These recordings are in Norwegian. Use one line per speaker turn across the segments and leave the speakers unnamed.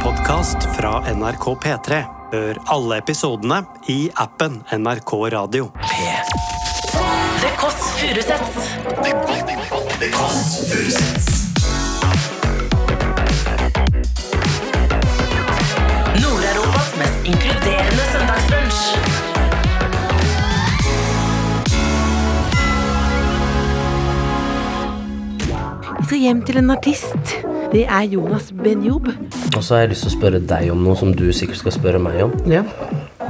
podkast fra NRK P3. Hør alle episodene i appen NRK Radio.
Det Kåss Furuseths. Nord-Europas mest inkluderende søndagsbrunsch.
Jeg skal hjem til en artist. Det er Jonas Benjob.
Og så har jeg lyst til å spørre deg om noe som du sikkert skal spørre meg om.
Ja.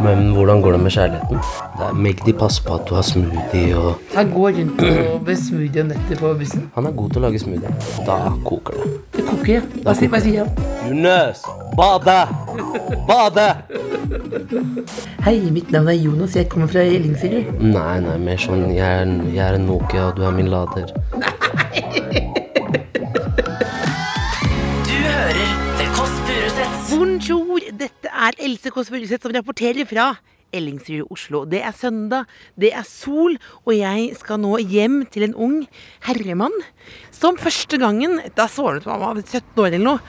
Men hvordan går det med kjærligheten? Det er Magdi passer på at du har smoothie og
Han går rundt og med smoothie om netter på bussen.
Han er god til å lage smoothie. Da koker det.
Det koker. ja. Hva sier, hva sier han?
Jonas! Bade! Bade!
Hei, mitt navn er Jonas. Jeg kommer fra Ellingsrud.
Nei, nei, mer sånn jeg er, jeg er en Nokia, og du er min lader.
Du hører Det Kåss Furuseths.
Bonjour! Dette er Else Kåss Furuseth som rapporterer fra Ellingsrud, Oslo. Det er søndag, det er sol, og jeg skal nå hjem til en ung herremann som første gangen Da svaret mamma var 17 år eller noe.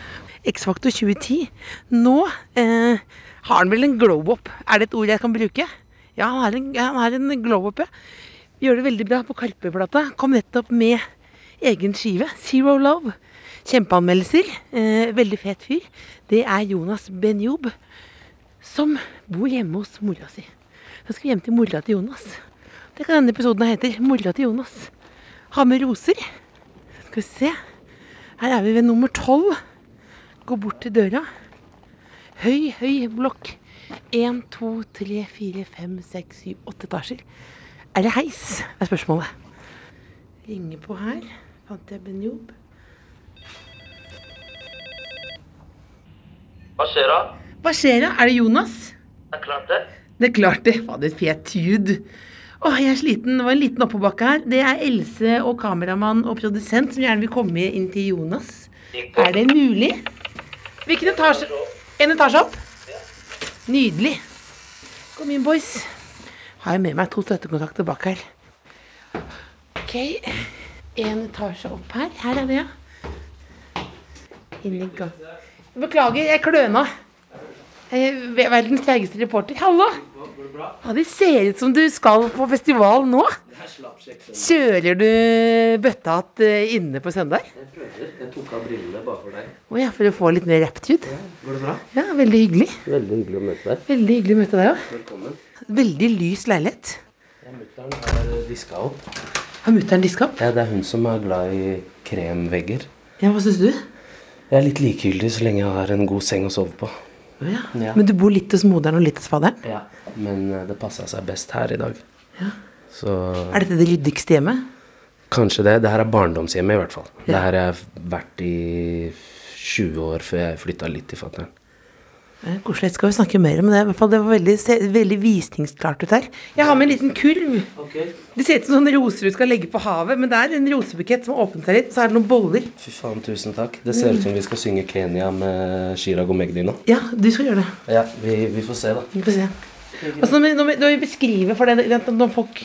X-Factor 2010. Nå eh, har han vel en glow-up. Er det et ord jeg kan bruke? Ja, han har en, han har en glow-up, ja. Gjør det veldig bra på Karpe-plata. Kom nettopp med egen skive. Zero Love. Kjempeanmeldelser. Eh, veldig fet fyr. Det er Jonas Benjob, som bor hjemme hos mora si. Så skal vi hjem til mora til Jonas. Det kan denne episoden her heter. Mora til Jonas. Ha med roser. Skal vi se. Her er vi ved nummer tolv. Gå bort til døra. Høy, høy blokk. Én, to, tre, fire, fem, seks, syv, åtte etasjer. Er det heis? er spørsmålet. Ringer på her. Fant jeg Benjob?
Hva skjer da?
Hva skjer da? Er det Jonas?
Det er klart det.
Det er klart det. Fader, fet tjud. Åh, jeg er sliten. Det var en liten oppoverbakke her. Det er Else og kameramann og produsent som gjerne vil komme inn til Jonas. Er det mulig? Hvilken etasje? En etasje opp? Nydelig. Kom inn, boys. Har jeg med meg to støttekontakter bak her. Ok, en etasje opp her. Her er det, ja. Inn i gang. Beklager, jeg kløna. Jeg er verdens treigeste reporter. Hallo! Ja, det ser ut som du skal på festival nå. Kjører du bøttehatt eh, inne på søndag?
Jeg prøver. Jeg tok av brillene bare for deg.
Å ja, for å få litt mer rapptyd.
Går det bra?
Ja, veldig hyggelig.
Veldig hyggelig å møte deg.
Veldig hyggelig å møte deg òg.
Velkommen.
Veldig lys leilighet.
Mutter'n har diska opp.
Har mutter'n diska opp?
Ja, det er hun som er glad i kremvegger.
Ja, hva syns du?
Jeg er litt likegyldig så lenge jeg har en god seng å sove på.
Å ja.
Ja.
Men du bor litt hos moderen og litt hos faderen?
Ja. Men eh, det passa seg best her i dag. Så
Er dette det ryddigste hjemmet?
kanskje det. Det her er barndomshjemmet, i hvert fall. Det her har jeg vært i 20 år før jeg flytta litt til fatter'n.
Det er Koselig. Skal vi snakke mer om det? I hvert fall, det var veldig, se- veldig visningsklart ut her. Jeg har med en liten kurv. Det ser ut som sånne roser du skal legge på havet, men det er en rosebukett som har åpnet seg litt. Så er det noen boller.
Fy faen, tusen takk. Det ser ut som vi skal synge Kenya med Chirag og Magdi nå.
Ja, du skal gjøre det.
Ja, vi, vi får se, da.
Vi får se. Altså, nå må vi- nå må vi- nå må vi beskrive for det, det- når folk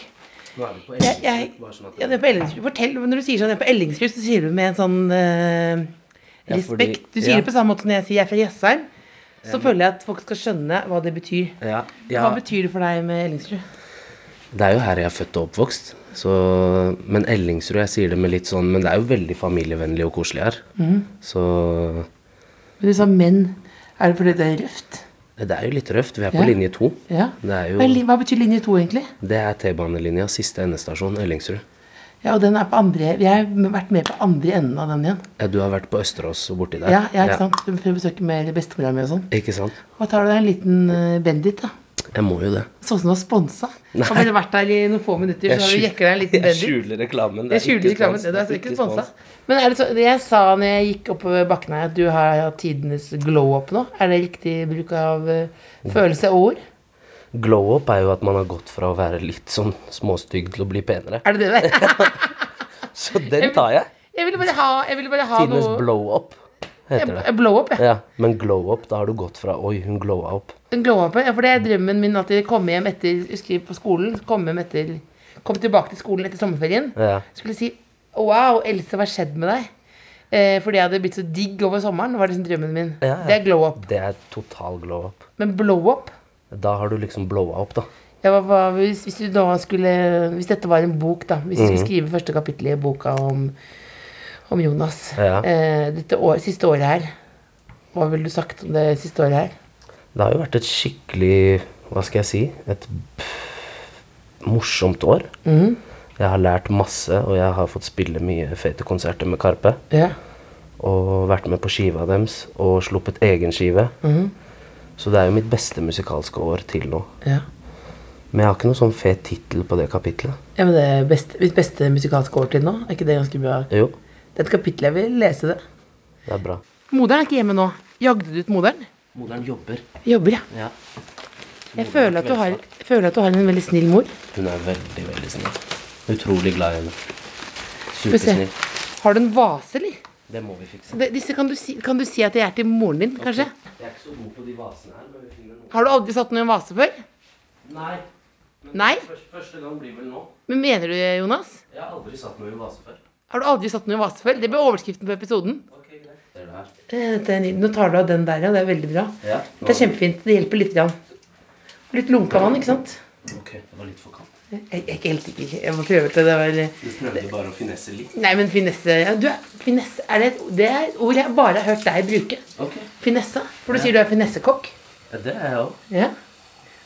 Nå er vi på
jeg, jeg,
sånn
ja, det er på Ellingsrud. Fortell, når du sier sånn, jeg er på Ellingsrud, så sier du med en sånn eh,
Ja, fordi-
respekt. Du sier
ja.
det på samme måte når jeg sier jeg er fra Jessheim. Så føler jeg at folk skal skjønne hva det betyr.
ja, ja.
Hva betyr det for deg med Ellingsrud?
Det er jo her jeg er født og oppvokst. Så, men Ellingsrud, jeg sier det med litt sånn Men det er jo veldig familievennlig og koselig her.
Mhm.
Så
Men du sa menn. Er det fordi det er røft?
eh, det er jo litt røft. Vi er
Ja.
på linje to.
Ja.
Det er jo-
Hva, li- hva betyr linje to, egentlig?
Det er T-banelinja, siste endestasjon, Ellingsrud.
Ja, og den er på andre Jeg har vært med på andre enden av den igjen.
Ja, du har vært på Østerås og borti der.
Ja, ja ikke sant? For å besøke mer bestemora mi og sånn.
Ikke sant?
Hva tar du deg en liten eh, Bendit, da?
Jeg må jo det.
Sånn som du har sponsa.
Nei.
Har bare vært der i noen få minutter, så har du
skjul-
jekka deg en liten
jeg
Bendit.
skjuler reklamen.
Jeg skjuler
ikke
reklamen.
spons.
Det er ikke sponsa. Men er det så, det jeg sa når jeg gikk oppover bakken her, at du har hatt tidenes glow up nå. Er det riktig bruk av eh, følelse og ord?
Glow up er jo at man har gått fra å være litt sånn småstygg til å bli penere.
Er det det det er?
Så den tar jeg.
Jeg ville bare ha, jeg ville bare ha
Tidenes
noe
blow up heter
Jeg-
det.
jeg Blow up, ja.
Ja, men glow up, da har du gått fra Oi, hun glowa opp.
En glow up, ja. For det er drømmen min at jeg kommer hjem etter husker jeg på skolen. Komme hjem etter Kom tilbake til skolen etter sommerferien.
Ja.
Skulle si Wow, Else, hva har skjedd med deg? Eh, fordi jeg hadde blitt så digg over sommeren. var liksom drømmen min.
Ja, ja.
Det er glow up.
Det er total glow up.
Men blow up
Da har du liksom blowa opp, da.
ja, hva, hva, hvis, hvis, du da skulle, hvis dette var en bok, da Hvis du
Mhm.
skulle skrive første kapittel i boka om, om Jonas
Ja.
eh, Dette år, siste året her Hva ville du sagt om det siste året her?
Det har jo vært et skikkelig Hva skal jeg si? Et p- morsomt år.
Mm.
Jeg har lært masse, og jeg har fått spille mye fete konserter med Karpe.
Ja.
Og vært med på skiva deres, og sluppet egen skive.
Mhm.
Så det er jo mitt beste musikalske år til nå.
ja.
Men jeg har ikke noe sånn fet tittel på det kapitlet.
ja men det er best, Mitt beste musikalske år til nå? Er ikke det ganske bra?
Jo,
Det er et kapittel jeg vil lese det.
det er bra.
Moderen er ikke hjemme nå. Jagde du ut moderen?
Moderen jobber.
Jobber, ja.
Ja.
Jeg føler at, du har, føler at du har en veldig snill mor.
Hun er veldig, veldig snill. Utrolig glad i henne.
Skal vi se.
Supersnill.
Har du en vase, eller?
Det må vi fikse.
Det- Disse kan du, si, kan du si at det er til moren din, kanskje?
Jeg er ikke så god på de vasene her, men vi finner noe.
Har du aldri satt den i en vase før?
Nei.
Nei?
Første, gang blir vel nå.
Men mener du, Jonas?
Jeg har aldri satt noe i vase før.
Har du aldri satt den i en vase før? Det ble overskriften på episoden.
Ser du her?
Eh, dette er nydelig. Nå tar du av den der, ja. Det er veldig bra.
Ja.
Det er kjempefint. Det hjelper litt. Grann. Litt lunka vann, ikke sant?
Ok, det var litt for kaldt.
Jeg, jeg er ikke helt sikker. Jeg må prøve til det var
Du prøvde bare å finesse litt.
Nei, men finesse ja, du, er- finesse, er det, et, det er et ord jeg bare har hørt deg bruke.
Ok.
Finesse. For du sier du er finessekokk.
Ja, det er jeg også.
Ja.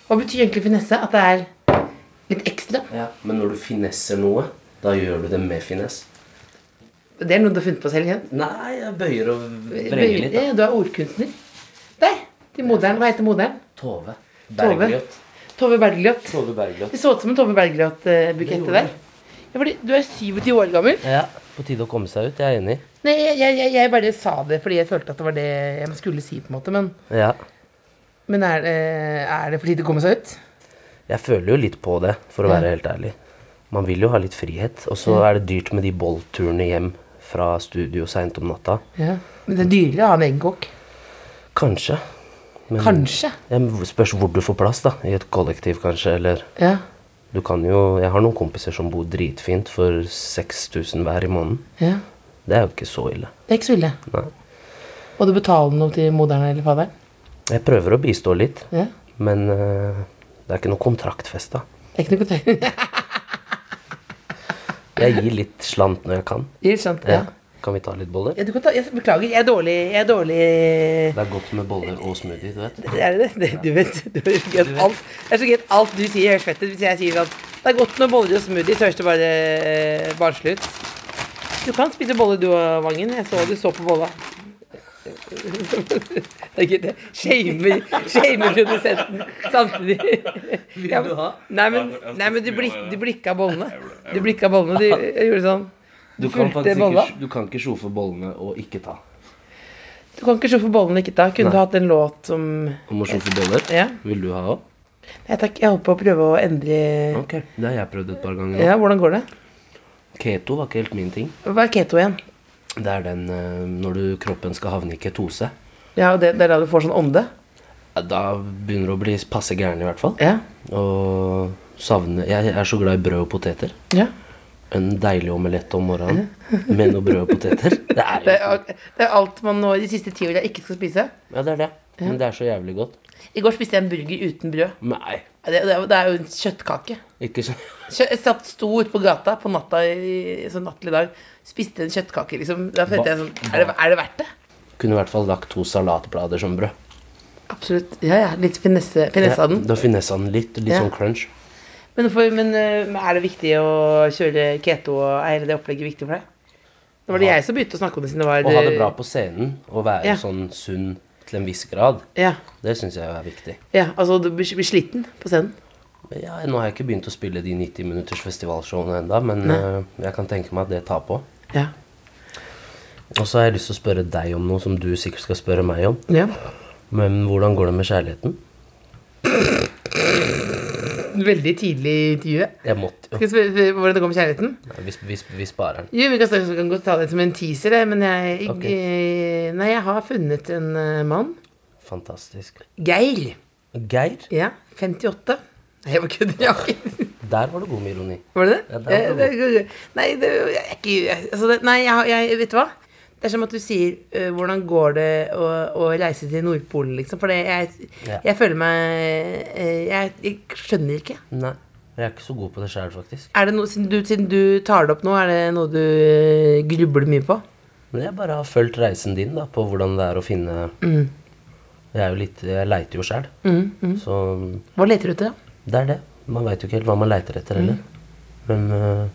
Hva betyr egentlig finesse? At det er litt ekstra?
Ja. Men når du finesser noe, da gjør du det med finess.
Det er noe du har funnet på selv? Igjen.
Nei, jeg bøyer og vrenger litt. Da.
Ja, du er ordkunstner. Der! Til moderen. Hva heter moderen?
Tove.
Tove.
Bergljot.
Tove Bergljot.
Tove Bergljot.
Det så ut som en Tove Bergljot-bukett
Det gjorde
der. Ja, fordi du er 27 år gammel.
Ja, på tide å komme seg ut. Jeg er enig.
Nei, jeg, jeg, jeg- jeg bare sa det fordi jeg følte at det var det jeg skulle si, på en måte. Men,
Ja.
men er, det- er det fordi det kommer seg ut?
Jeg føler jo litt på det, for å være helt ærlig. Man vil jo ha litt frihet. Og så er det dyrt med de bolturene hjem fra studio seint om natta.
Ja. Men det er dyrere å ha en egen kokk.
Kanskje. Men
Kanskje.
Ja, men spørs hvor du får plass, da. I et kollektiv, kanskje. Eller
Ja.
du kan jo Jeg har noen kompiser som bor dritfint for 6000 hver i måneden.
ja.
Det er jo ikke så ille.
Det er ikke så ille.
Nei.
Må du betale noe til moderen eller faderen?
Jeg prøver å bistå litt,
Ja.
men eh, det er ikke noe kontraktfesta.
Det er ikke noe tegn.
Jeg gir litt slant når jeg kan.
Ikke sant?
Ja.
Ja.
Kan vi ta litt boller?
Ja, du kan ta, jeg beklager, jeg er dårlig, jeg er dårlig
Det er godt med boller og smoothie, du vet.
Er det det? det? Du vet, du vet ikke at alt, det er så greit alt du sier høres fett ut hvis jeg sier at det er godt med boller og smoothie, så høres det bare eh, barnslig ut. Du kan spise bolle du og Vangen. Jeg så du så på bolla. Det er ikke det. Shamer, shamer produsenten samtidig. Ja, men- Nei, men, nei, men du, blikk, du blikka bollene. Du blikka bollene, du jeg gjorde sånn.
Du kan
Fulgte
faktisk
bolla?
ikke, du kan ikke sjofe bollene og ikke ta.
Du kan ikke se for bollene ikke da. Kunne du hatt en låt som
Om å sjofe boller?
Ja.
Vil du ha òg?
Nei takk, jeg holdt på å prøve å endre
Ok. Det har jeg prøvd et par ganger. nå.
Ja, hvordan går det?
Keto var ikke helt min ting.
Hva er keto igjen?
Det er den eh, når du, kroppen skal havne i ketose.
Ja, og det, det er da du får sånn ånde?
Ja, Da begynner du å bli passe gæren, i hvert fall.
Ja.
Og savne Jeg er så glad i brød og poteter.
ja.
En deilig omelett om morgenen med noe brød og poteter. Det er
Det,
jo
er, det er alt man nå i de siste ti årene ikke skal spise.
Ja, det er det. Men det er så jævlig godt.
I går spiste jeg en burger uten brød.
Nei,
Det, det, er- det er jo en kjøttkake.
ikke sånn.
Kjø, jeg satt sto ute på gata på natta i sånn nattlig dag, spiste en kjøttkake, liksom. Da følte jeg sånn Er det, er det verdt det?
Kunne i hvert fall lagt to salatblader som brød.
Absolutt. Ja, ja. Litt finesse, finesse av den.
Da finessa den litt. Litt
Ja.
sånn crunch.
Men, for, men eh, men er det viktig å kjøre keto, og er det opplegget viktig for deg? Nå var det jeg som begynte å snakke om det siden det var
Å ha det bra på scenen og være
Ja.
sånn sunn til en viss grad,
eh, Ja,
det syns jeg er viktig.
ja altså du blir blir sliten på scenen.
Men Ja, nå har jeg ikke begynt å spille de 90 minutters festivalshowene ennå, men eh, jeg kan tenke meg at det tar på.
Ja.
Og så har jeg lyst til å spørre deg om noe som du sikkert skal spørre meg om.
ja.
Men hvordan går det med kjærligheten?
Veldig tidlig i intervjuet.
Jeg måtte
Skal jeg spørre spørre hvordan det går med kjærligheten?
Nei, vi, vi, vi sparer den.
Jo, vi kan, snakke- vi kan godt ta det som en teaser, det, men jeg, jeg,
Ok.
eh, Nei, jeg har funnet en eh, mann.
Fantastisk.
Geir.
Geir,
Ja. 58. Nei, jeg bare kødder. jeg har ikke-
der var det god med ironi.
Var det det?
Ja, det var
Eh, det? Nei, det, jeg, er ikke, altså det, nei jeg, har- jeg, vet du hva? Det er som at du sier eh, 'hvordan går det å, å reise til Nordpolen', liksom. For det- jeg,
Ja.
jeg føler meg eh, jeg, jeg skjønner ikke.
Nei, jeg er ikke så god på det sjøl, faktisk.
Er det noe, siden, du, siden du tar det opp nå, er det noe du eh, grubler mye på?
Men jeg bare har fulgt reisen din da, på hvordan det er å finne
Mm.
Jeg er jo litt, jeg leiter jo sjæl. Så
Hva leter du etter? da?
det er det. Man veit jo ikke helt hva man leiter etter
Mm.
heller. Men øh,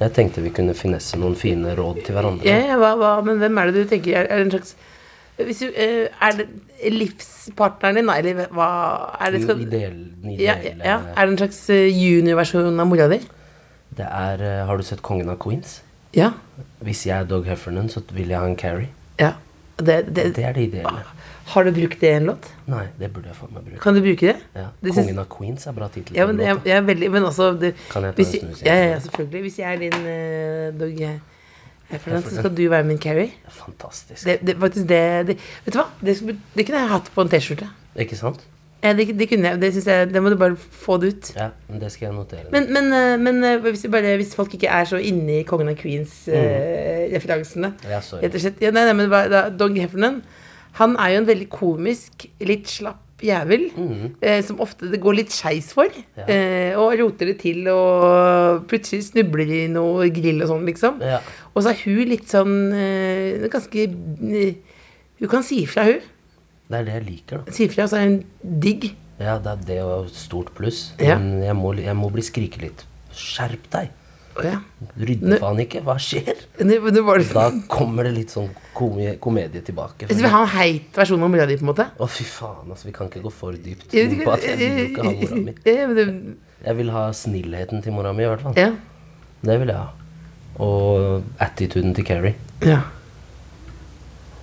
jeg tenkte vi kunne finesse noen fine råd til hverandre.
Ja, ja, hva, hva, men hvem er det du tenker er, er det en slags hvis du, eh, Er det livspartneren din, da? Eller hva er det,
Den
skal,
ideelle, den
ja,
ideelle
ja, er det en slags eh, juniorversjon av mora di?
Det er øh, Har du sett Kongen av Queens?
Ja.
Hvis jeg er Dog Heffernan, så vil jeg ha en Carrie.
ja. Det, det,
Det er det ideelle.
Har du brukt det i en låt?
Nei, det burde jeg faen meg bruke.
Kan du bruke det?
Ja.
Det syns-
Kongen av Queens er bra tittel.
ja, men, jeg, jeg er veldig, men også det,
Kan jeg ta
hvis,
en snus, jeg?
ja, ja, ja, selvfølgelig. Hvis jeg er din eh, dog eh, Heffernan, så skal du være min Carrie.
Fantastisk.
Det, det, faktisk det, det, vet du hva? Det, skulle- det kunne jeg hatt på en T-skjorte.
Ikke sant?
Eh, Det, det kunne jeg, det synes jeg, det må du bare få det ut.
Ja, men det skal jeg notere.
Men, men, eh, men eh, hvis, vi bare, hvis folk ikke er så inne i Kongen av Queens-referansene
Mm. Ja, sorry.
Rett og slett. Ja, nei, nei, men hva- da, Dog Heffernan han er jo en veldig komisk, litt slapp jævel. Eh, som ofte det går litt skeis for.
Mm. Ja.
Eh, og roter det til og plutselig snubler i noe grill og sånn, liksom.
Ja.
Og så er hun litt sånn eh, ganske eh, Hun kan si ifra, hun.
Det er det jeg liker, da.
Si ifra, og så er hun digg.
Ja, det er det og stort pluss.
Ja.
Men jeg må, jeg må bli skrike litt. Skjerp deg!
Å, ja.
Rydde
Nå-
faen ikke. Hva skjer?
Nå, nå var det
Da kommer det litt sånn komedie, komedie tilbake.
Hvis Altså, vi har en heit versjon av mora di, på en måte.
Å, fy faen, altså. Vi kan ikke gå for dypt
Jeg vet
inn
ikke-
på at jeg vil jo ikke ha mora mi.
Ja, men det-
Jeg vil ha snillheten til mora mi, i hvert fall.
Ja.
Det vil jeg ha. Og attituden til Keri.
ja.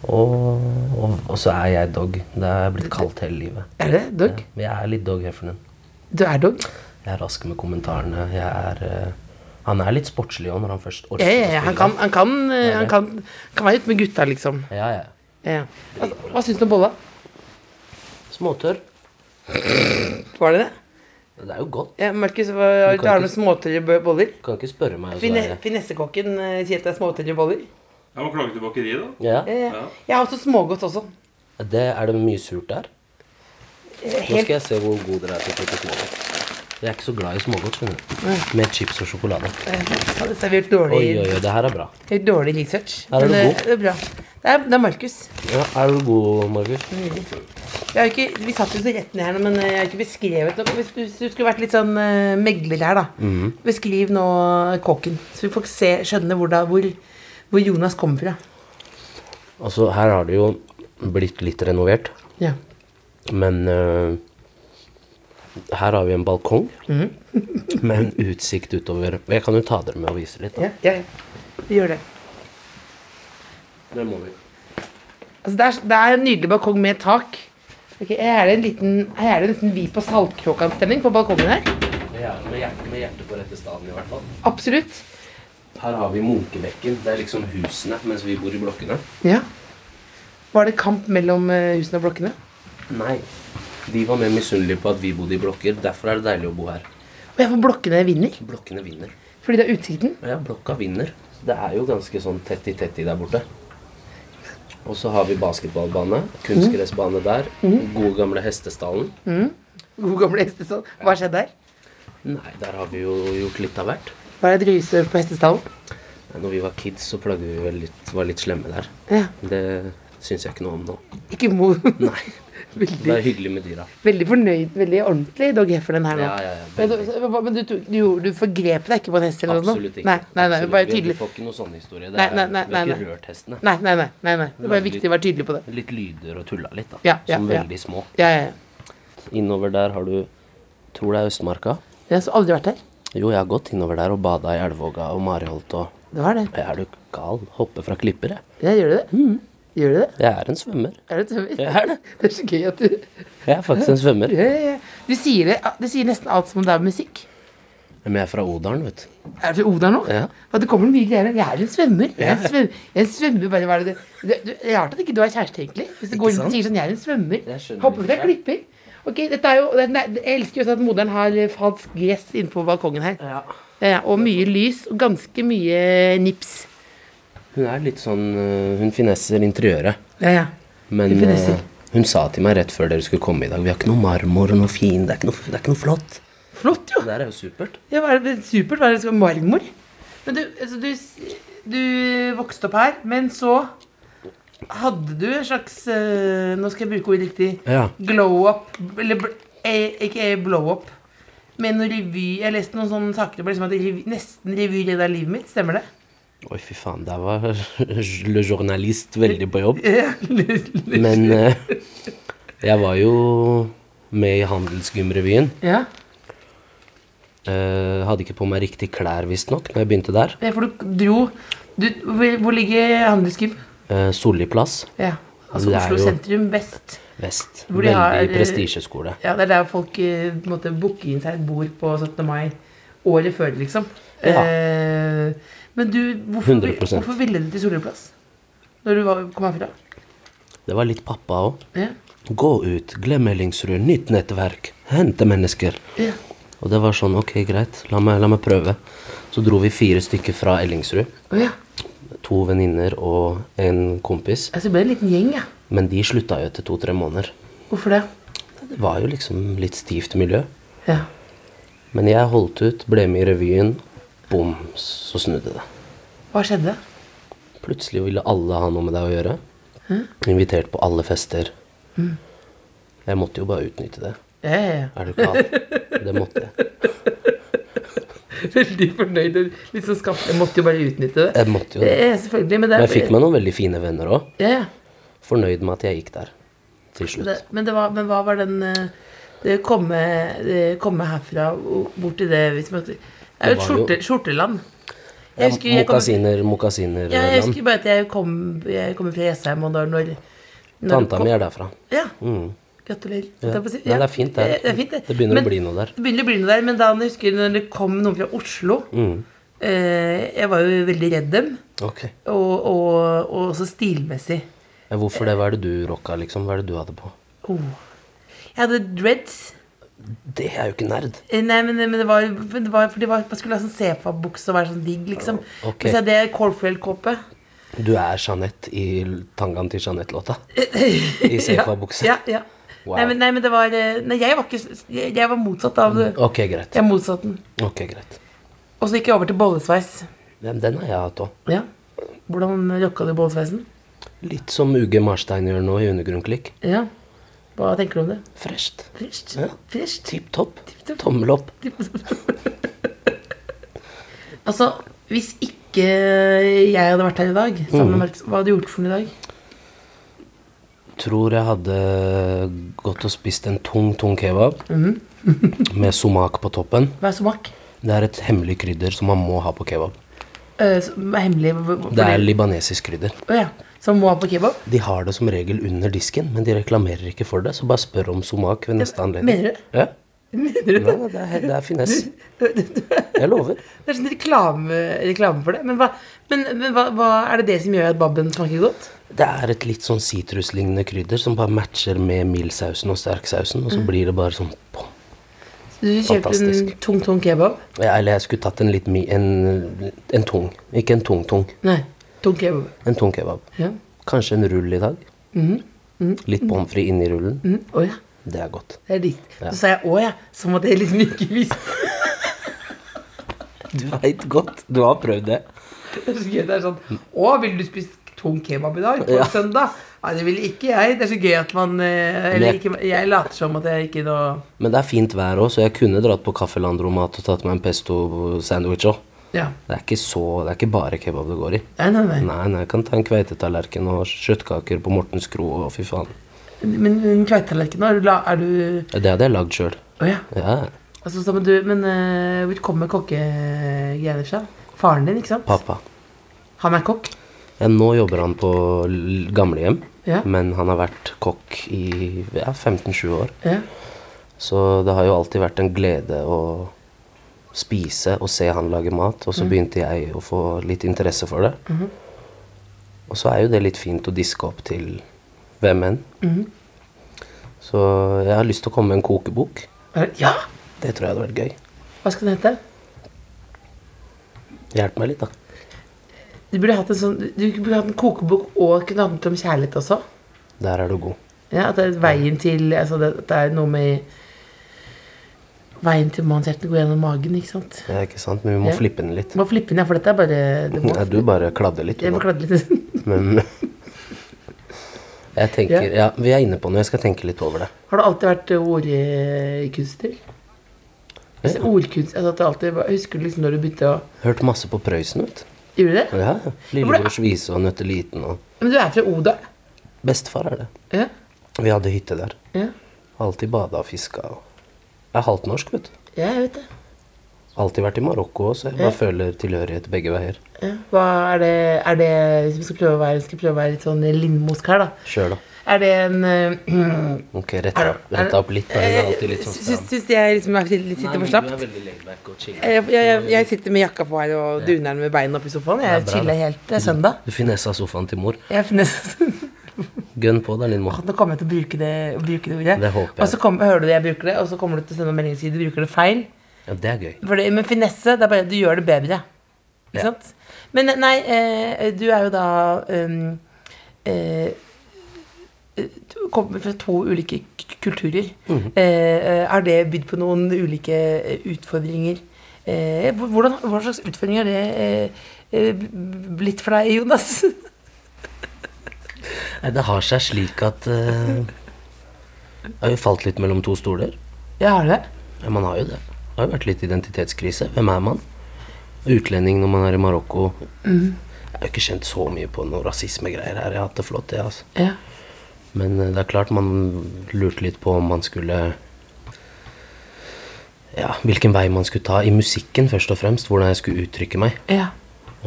Og, og, og så er jeg dog. Det er jeg blitt kalt hele livet.
Er det dog?
Ja, men jeg er litt dog Heffernan.
Du er dog?
Jeg er rask med kommentarene. Jeg er eh, Han er litt sportslig òg, når han først orker
Ja, ja, ja.
å
Han,
spille.
kan, han, kan, eh, han kan, kan være ute med gutta, liksom.
Ja, ja.
Ja. Hva, hva syns du om bolla?
Småtørr.
Var det det?
Det er jo godt.
Ja, Markus, hva-
Du kan
du har med
ikke-
småtørre bo- boller?
Du kan ikke spørre meg. altså. og så
Fine-
er jeg-
Finessekokken eh, sier at det er småtørre boller.
Jeg må klage til bakeriet, da.
Ja.
Ja, ja. Jeg har også smågodt også.
Det, er det mye surt der?
Eh,
Nå
Helt,
skal jeg se hvor god dere er til å putte smågodt. Jeg er ikke så glad i smågodt, skjønner
Mm.
du. Med chips og sjokolade.
ja, dette har vi gjort
Oi,
dårlig,
oi, oi, det her er bra.
gjort dårlig research.
Her er
men
du
det,
god.
det er bra. Det er, det er Markus.
Ja, er du god, Markus?
Mm. Jeg har ikke, vi satt jo så rett ned her, nå, men jeg har ikke beskrevet noe. Hvis du, hvis du skulle vært litt sånn eh, megler her, da. Beskriv nå kåken, så vi får se, skjønne hvor, da, hvor, hvor Jonas kommer fra.
Altså, her har det jo blitt litt renovert.
Ja.
Men eh, her har vi en balkong med en utsikt utover Jeg kan jo ta dere med og vise litt. Da.
Ja, ja, Vi gjør det.
Det må vi.
Altså, det, er, det er en nydelig balkong med tak. Ok, her er det en liten, her er det nesten Vi på Saltkråkan-stemning på balkongen her.
Det er med hjertet, med hjertet på rette staden, i hvert fall.
Absolutt.
Her har vi Munkebekken. Det er liksom husene mens vi bor i blokkene.
Ja. Var det kamp mellom eh, husene og blokkene?
Nei. De var mer misunnelige på at vi bodde i blokker. Derfor er det deilig å bo her.
Og jeg får blokkene vinner,
Blokkene vinner.
fordi det er utsikten.
Ja, blokka vinner. Det er jo ganske sånn tett i tett i der borte. Og så har vi basketballbane, kunstgressbane der, gode gamle hestestallen.
God gamle Hestesand. Hva skjedde der?
Nei, der har vi jo gjort litt av hvert.
Var det et røysøl på hestestallen?
Nei, Når vi var kids, så plagde vi vel litt, var litt slemme der.
Ja.
Det syns jeg ikke noe om nå.
Ikke mor.
Nei. Det
Veldig,
er hyggelig med dyra.
veldig fornøyd, veldig ordentlig Dog Heffernan her nå.
Ja, ja, ja,
Men du-
veldig.
hva- Men du, tok- du, gjorde- du forgrep deg ikke på en hest eller noe? sånt?
Absolutt ikke.
Nei, nei, nei,
Absolutt.
bare
Vi-
tydelig.
Vi får ikke noe sånn historie. Det
Nei,
er,
nei, nei,
vi har
nei,
ikke
nei.
rørt hestene.
Nei, nei, nei. nei, nei. Det er bare
Veldig-
viktig å være tydelig på det.
Litt lyder og tulla litt, da.
Ja, ja,
Som
ja.
veldig små.
Ja, ja, ja.
Innover der har du Tror det er Østmarka?
Jeg har så aldri vært der.
Jo, jeg har gått innover der og bada i Elvåga og Mariholt og
Det var det.
Jeg Er du gal? Hoppe fra klipper, jeg.
Ja, gjør du det? Gjør du det?
Jeg er en svømmer.
Er du tømmer?
Mm. Jeg er det.
Det er så gøy at du
Jeg er faktisk en svømmer.
ja, ja, ja. Du sier det, du sier nesten alt som om det er musikk.
Men jeg er fra Odalen, vet du.
Er du fra Odal nå?
Ja.
Ja, det kommer mye greier. Jeg er en svømmer. Jeg er en svømmer, jeg er en svømmer bare, hva er det? det- det det er rart at ikke du har kjæreste, egentlig. Hvis du går rundt og
sant?
sier sånn, jeg er en svømmer.
Jeg skjønner
Hopper fra
ikke.
klipper. Ok, dette er jo, det- nei, Jeg elsker jo også at moderen har eh, falsk gress innenfor balkongen her. Ja, og mye lys, og ganske mye nips.
Hun er litt sånn eh, Hun finesser interiøret.
Ja, ja.
Men
Hun finesser.
eh, hun sa til meg rett før dere skulle komme i dag Vi har ikke noe marmor og noe fin, det er ikke noe, det er ikke noe flott.
Flott, jo.
Det der er jo supert.
Ja, hva er det, supert. Hva er det som marmor? Men du, altså, du, s- du vokste opp her, men så hadde du en slags eh, Nå skal jeg bruke ordet riktig.
Ja.
Glow up. Eller bl- eh, ikke eh, blow up. Men noe revy Jeg leste noen sånne saker det ble liksom at revy, nesten revy leda livet mitt. Stemmer det?
Oi, fy faen, der var le journalist veldig på jobb.
Ja.
Men eh, jeg var jo med i Handelsgymrevyen.
ja.
Eh, hadde ikke på meg riktig klær, visstnok, når jeg begynte der.
Ja, For du dro du, hvor, hvor ligger Handelsgym?
Eh, Solli plass,
Ja. Altså
Det er
Oslo
jo-
sentrum vest.
vest.
Hvor de
Veldig
har, eh,
prestisjeskole.
Ja, Det er der folk eh, på en måte booker inn seg et bord på 17. mai året før, liksom.
Ja.
Eh, men du, hvorfor,
100%.
hvorfor ville du til Solli plass? Når du var, kom herfra?
Det var litt pappa òg.
Ja.
Gå ut, glem Ellingsrud, nytt nettverk, hente mennesker.
ja.
Og det var sånn, ok, greit, la meg, la meg prøve. Så dro vi fire stykker fra Ellingsrud.
Å ja.
To venninner og en kompis.
Altså, det ble en liten gjeng, ja.
Men de slutta jo etter to-tre måneder.
Hvorfor det?
Det var jo liksom litt stivt miljø.
Ja.
Men jeg holdt ut, ble med i revyen. Bom, så snudde det.
Hva skjedde?
Plutselig ville alle ha noe med deg å gjøre. Invitert på alle fester.
Mm.
Jeg måtte jo bare utnytte det.
Ja, ja, ja.
Er du gal? Det måtte jeg.
Veldig fornøyd og litt sånn skapt. Jeg måtte jo bare utnytte det.
Jeg måtte jo det.
Ja, selvfølgelig. Men det,
Men
er-
jeg fikk meg noen veldig fine venner òg.
Ja, ja.
Fornøyd med at jeg gikk der til
det,
slutt.
men, det var, men hva var den eh, Det komme, det komme herfra og bort til det hvis man, Det er jo et
Det var jo-
skjorte, skjorteland.
Ja,
Jeg husker jeg kom,
mokasiner, mokasiner.
ja, jeg
land.
husker bare at jeg kom Jeg kommer fra Jessheim, og da når, når du
Tanta
kom-
mi er derfra.
Ja.
Mm.
Gratulerer.
Ja.
holdt jeg på å si.
Nei, det er fint, det.
Eh, Det, er fint, det.
Det begynner å
Men-
bli noe der.
Det begynner å bli noe der, men da jeg husker når det kom noen fra Oslo
Mm.
eh, Jeg var jo veldig redd dem,
Ok.
og, og, og også stilmessig.
Ja, Hvorfor det? Hva er det du rocka, liksom? Hva er det du hadde på?
Oh. Jeg hadde dreads.
Det er jo ikke nerd.
Eh, Nei, men, men det var, men det var fordi det var, man skulle ha sånn cefa-bukse og være sånn digg, liksom.
Ok.
Mens jeg hadde Corfrell-kåpe.
Du er Jeanette i l- tangaen til Jeanette-låta. I Sefa-bukse.
Ja, ja.
Wow.
Nei, men, nei, men det var eh, Nei, jeg var ikke s- Jeg, jeg var motsatt av det.
Mm, Ok, greit.
Jeg motsatte den.
Ok, greit.
Og så gikk jeg over til bollesveis.
Den, den har jeg hatt òg.
Ja. Hvordan rocka du bollesveisen?
Litt som UG Marstein gjør nå i Undergrunnklikk.
Ja. Hva tenker du om det?
Fresht.
Friskt.
Ja.
Friskt.
Tipp topp.
topp.
Tommel opp.
Altså, hvis ikke jeg hadde vært her i dag, sammen
Mm.
med Markus, hva hadde du gjort for noe i dag?
Tror jeg hadde gått og spist en tung, tung kebab
Mhm.
med somak på toppen.
Hva er somak?
Det er et hemmelig krydder som man må ha på kebab.
Uh, som er hemmelig hvor- hvor-
Det er libanesisk krydder.
Å ja. Som må ha på kebab?
De har det som regel under disken, men de reklamerer ikke for det, så bare spør om somak ved neste anledning.
Mener du?
Ja. Nei, nei, det, er, det er finess. Jeg lover.
Det er sånn reklame, reklame for det. Men, hva, men, men hva, hva er det det som gjør at babben smaker godt?
Det er et litt sånn sitruslignende krydder som bare matcher med mildsausen og sterksausen,
Mm.
og så blir det bare sånn pom.
Så Du kjøpte en
Fantastisk.
tung, tung kebab?
Ja, Eller jeg skulle tatt en litt mi... En, en tung. Ikke en tung-tung.
Nei, tung kebab.
En tung kebab.
Ja. Mm-hmm.
Kanskje en rull i dag. Litt pommes frites inni rullen.
Mm, å ja,
Det er godt.
det er ditt.
Ja.
Så sa jeg å ja, som at jeg liksom ikke visste.
Du veit godt. Du har prøvd det.
Det er så gøy, det er sånn Å, ville du spist tung kebab i dag? På
Ja.
søndag? Nei, det ville ikke jeg. Det er så gøy at man eh, Eller
Men-
ikke, jeg later som at jeg ikke da
Men det er fint vær òg, så jeg kunne dratt på Kaffe Landromat og tatt meg en pesto-sandwich òg.
Ja.
Det er ikke så, det er ikke bare kebab det går i.
Nei, nei, nei.
Nei, nei, jeg kan ta en kveitetallerken og kjøttkaker på Mortens Kro og fy faen.
Men men kveitetallerkenen, er du la- er du
Det hadde jeg lagd sjøl.
Å ja.
Ja.
Altså, så, men du, men eh, hvor kommer kokkegreiene fra? Faren din, ikke sant?
Pappa.
Han er kokk?
Ja, nå jobber han på l- gamlehjem,
Ja.
men han har vært kokk i ja, 15-20 år.
Ja.
Så det har jo alltid vært en glede å spise og se han lage mat,
Mm.
og så begynte jeg å få litt interesse for det.
Mm-hmm.
Og så er jo det litt fint å diske opp til hvem enn.
Mm-hmm.
Så jeg har lyst til å komme med en kokebok.
Er det- ja!
Det tror jeg hadde vært gøy.
Hva skal den hete?
Hjelp meg litt, da.
Du burde hatt en sånn Du burde hatt en kokebok og kunne hatt den om kjærlighet også.
Der er du god.
Ja, At det er veien til altså det, At det er noe med Veien til mannshjertet går gjennom magen, ikke sant?
Ja, ikke sant? Men vi må
Ja.
flippe den litt.
Må flippe inn, ja, for dette er bare det må,
Nei, du bare kladder litt.
Jeg
unna.
må kladde litt.
Men jeg tenker, ja, vi er inne på noe. Jeg skal tenke litt over det.
Har du alltid vært eh, ordkunstner? Altså,
Ja.
ordkunst, altså at det alltid var, Husker du liksom når du begynte å
Hørt masse på Prøysen, vet du.
Gjorde du det?
Ja, ja. Lillebrors vise og Nøtteliten og
Men du er fra Oda?
Bestefar er det.
Ja.
Vi hadde hytte der.
ja.
Alltid bada og fiska. og- Jeg er halvt norsk, vet du.
Ja, jeg vet det.
Alltid vært i Marokko òg, så jeg bare føler tilhørighet begge veier.
Ja. Hva er det, er det Hvis vi skal prøve å være, skal prøve å være litt sånn lindmosk her, da.
Sjøl, da.
Er det en eh,
Ok, retta opp, retta opp litt. Da. Hun er alltid litt sånn
Syns,
stram.
syns jeg liksom er litt, litt for slapp?
veldig leggback og chill.
Eh, Jeg, jeg, jeg, jeg sitter med jakka på her og duner den med beina opp i sofaen. Jeg
Det er bra,
chiller
det.
helt til søndag.
Du finessa sofaen til mor.
Jeg finner nesten
Gønn på da, Lindmo.
Nå kommer jeg til å bruke det, bruke det ordet.
Det håper jeg.
Og så kommer- hører du det jeg bruker det, og så kommer du til å sende meg melding og si du bruker det feil.
Ja, det er gøy.
For det, men finesse, det er bare du gjør det bedre. Ikke
Ja.
sant? Men nei, eh, du er jo da um, eh, du Kommer fra to ulike k- kulturer. Eh, eh, har det bydd på noen ulike eh, utfordringer? Eh, hvor- hvordan, hva slags utfordringer har det eh, eh, b- blitt for deg, Jonas?
Nei, det har seg slik at eh, Jeg har jo falt litt mellom to stoler.
Ja, har du det?
Ja, man har jo det. Det har jo vært litt identitetskrise. Hvem er man? Utlending når man er i Marokko.
Mm.
Jeg har jo ikke kjent så mye på noe rasismegreier her. Jeg har hatt det flott, jeg, altså.
Ja.
Men eh, det er klart man lurte litt på om man skulle Ja, hvilken vei man skulle ta i musikken, først og fremst. Hvordan jeg skulle uttrykke meg.
Ja.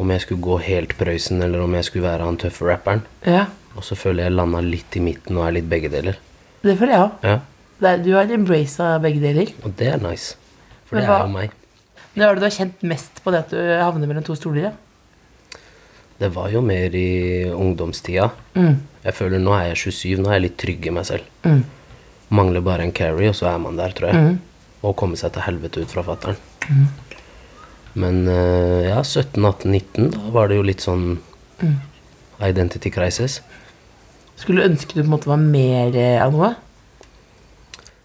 Om jeg skulle gå helt Prøysen, eller om jeg skulle være han tøffe rapperen.
ja.
Og så føler jeg landa litt i midten og er litt begge deler.
Det føler jeg òg.
Ja,
Du har embracet begge deler.
Og det er nice. For
Men
det
hva-
er jo meg.
Men hva er det du har kjent mest på det at du havner mellom to stoler? Ja?
Det var jo mer i ungdomstida.
Mm.
Jeg føler nå er jeg 27, nå er jeg litt trygg i meg selv. Mangler bare en carry, og så er man der, tror jeg.
Mm.
Og komme seg til helvete ut fra fattern. Men eh, ja, 17, 18, 19, da var det jo litt sånn
Mm.
identity crisis.
Skulle du ønske du på en måte var mer eh, av noe?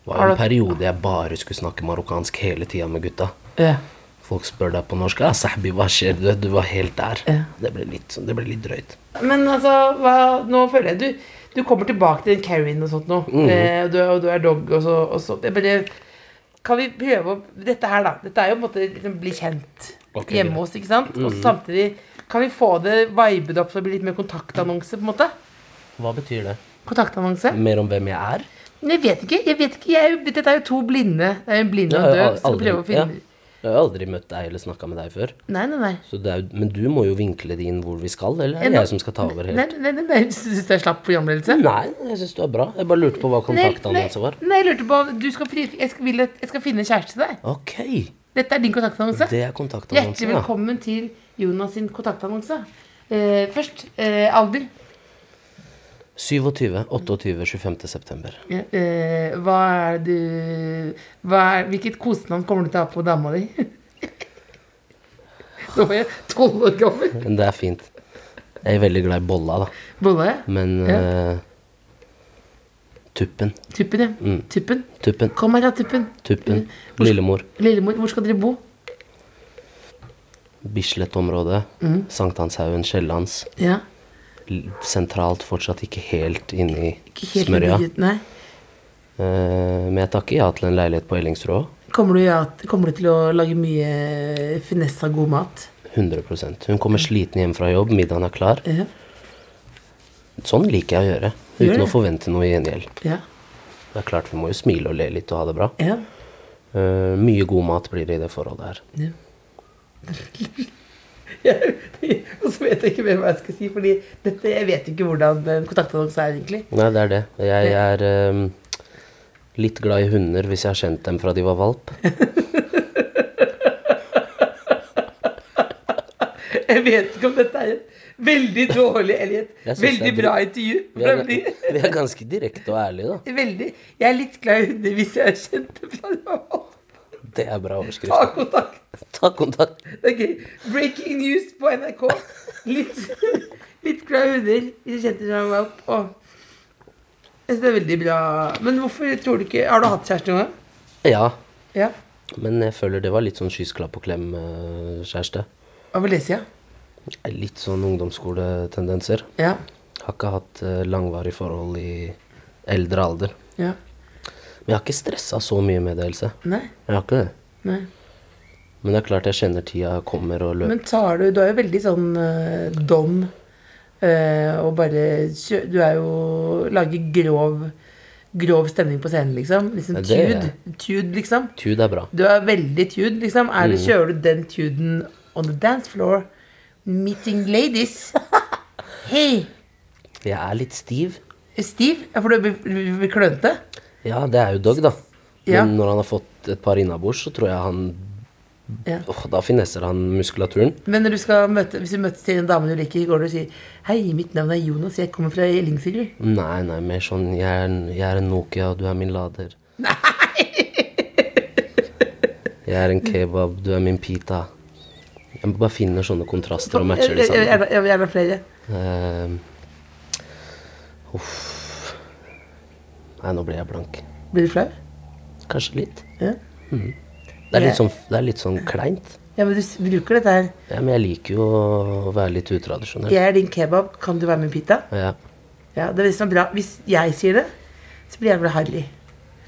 Det var
Har
jo en
du-
periode jeg bare skulle snakke marokkansk hele tida med gutta.
Ja.
Folk spør deg på norsk «Ah, Sahbi, hva skjer? Du, du var helt der.
Ja.
Det ble litt, sånn- det ble litt drøyt.
Men altså, hva, nå føler jeg du, du kommer tilbake til den carryen og sånt nå.
Mhm.
eh, og, du, og du er dog og så, og så. Jeg bare, kan vi prøve å Dette her, da. Dette er jo på en måte liksom, bli kjent
Ok, Mhm.
hjemme
greit.
hos, ikke sant? Og samtidig kan vi få det vibet opp så det blir litt mer kontaktannonse, på en måte?
Hva betyr det?
Kontaktannonse?
Mer om hvem jeg er?
Men jeg vet ikke. jeg vet ikke jeg, er jo- Dette er jo to blinde. Det er en blind og
Jeg
en
har jo
døv.
al-
Skal prøve å
aldri- ja.
finne
Jeg har jo aldri møtt deg eller snakka med deg før.
Nei, nei, nei.
Så det er, jo- men du må jo vinkle det inn hvor vi skal, eller er det
Ja,
jeg som skal ta over
Nei,
helt?
nei, nei, nei. Syns du jeg slapp programledelse?
Nei, jeg syns du er bra. Jeg bare lurte på hva
Nei,
kontaktannonse var.
Nei, nei, jeg lurte på om du skal, fri- jeg, skal, vil, at- jeg skal finne en kjæreste til deg.
Ok,
Dette er din kontaktannonse.
det er kontaktannonse,
Hjertelig
ja.
velkommen til Jonas sin kontaktannonse. Eh, først eh, alder.
27, 28, 25. september.
Eh, hva er du hva er, Hvilket kosenavn kommer du til å ha på dama di? Nå var jeg tolv år gammel.
Men det er fint. Jeg er veldig glad i bolla, da.
Bolle?
Men
Ja.
eh, Tuppen.
Tuppen, ja.
Mm.
Tuppen.
Tuppen.
Kom her, da, Tuppen.
Tuppen. Lillemor.
Lillemor, hvor skal dere bo?
Bislett-området.
Mm.
Sankthanshaugen. Kiellands.
Ja.
L- Sentralt fortsatt ikke helt inne
Ikke
i
helt
smørja.
nybygget, Nei.
Eh, men jeg takker ja til en leilighet på Ellingsrud òg.
Kommer du, ja, kommer du til å lage mye finesse av god mat?
100 Hun kommer sliten hjem fra jobb, middagen er klar.
Ja.
Sånn liker jeg å gjøre.
Gjør
Uten
det.
å forvente noe i gjengjeld.
Ja.
Det er klart vi må jo smile og le litt og ha det bra.
ja.
Eh, mye god mat blir det i det forholdet her.
og så vet jeg ikke mer hva jeg skal si, Fordi dette, jeg vet ikke hvordan en kontaktannonse er egentlig.
Nei, det er det. Jeg er eh, litt glad i hunder hvis jeg har kjent dem fra de var valp.
Jeg vet ikke om dette er et veldig dårlig eller
Jeg
et
synes det
veldig
er
bra intervju.
Vi er,
Det blir
vi er ganske direkte og ærlige, da.
veldig, jeg er litt glad i hunder hvis jeg har kjent det fra det var valp.
Det er bra
Ta
overskrift.
kontakt.
Ta kontakt.
Det er gøy. Breaking news på NRK. Litt, litt glade hunder. De kjente seg opp. Og jeg synes det er veldig bra. Men hvorfor tror du ikke Har du hatt kjæreste noen gang?
Ja.
Ja.
Men jeg føler det var litt sånn skyssklapp og klem-kjæreste.
Over lesesida?
Litt sånn ungdomsskoletendenser.
Ja.
Har ikke hatt eh, langvarig forhold i eldre alder.
Ja.
Men jeg har ikke stressa så mye med det, Else.
Nei.
Jeg har ikke det.
Nei.
Men det er klart jeg kjenner tida kommer og løper.
Men tar du Du er jo veldig sånn eh, dom eh, og bare kjø, Du er jo Lager grov Grov stemning på scenen, liksom. Liksom
Ja, det er
tude. Tude, liksom.
Tud er bra.
Du er veldig tude, liksom. Er du,
Mm.
Kjører du den tuden on the dance floor? Meeting ladies. Hei,
Jeg er litt stiv.
Steve. Ja, for du blir- blir blir klønete?
Ja, det er jo Doug, da.
Ja.
Men når han har fått et par innabords, så tror jeg han
Ja.
Åh, Da finesser han muskulaturen.
Men når du skal møte, hvis du møtes til en dame du liker, går du og sier Hei, mitt navn er Jonas, jeg kommer fra Ellingsrud.
Nei, nei, mer sånn jeg er, jeg er en Nokia, du er min lader. Nei! Jeg er en kebab, du er min pita. Jeg bare finner sånne kontraster og matcher de
Jeg jeg- jeg
sammen.
vil gjerne- jeg vil gjerne ha flere.
Eh, uff. Nei, nå blir jeg blank.
Blir du flau?
Kanskje litt. Mhm.
Ja.
Det er
Jeg-
litt sånn, det er litt sånn kleint.
Ja, men du s- bruker dette her.
Ja, men jeg liker jo å være litt utradisjonell.
Jeg er din kebab, kan du være min pita?
Ja.
Ja, det er det som er bra. Hvis jeg sier det, så blir jeg vel harry.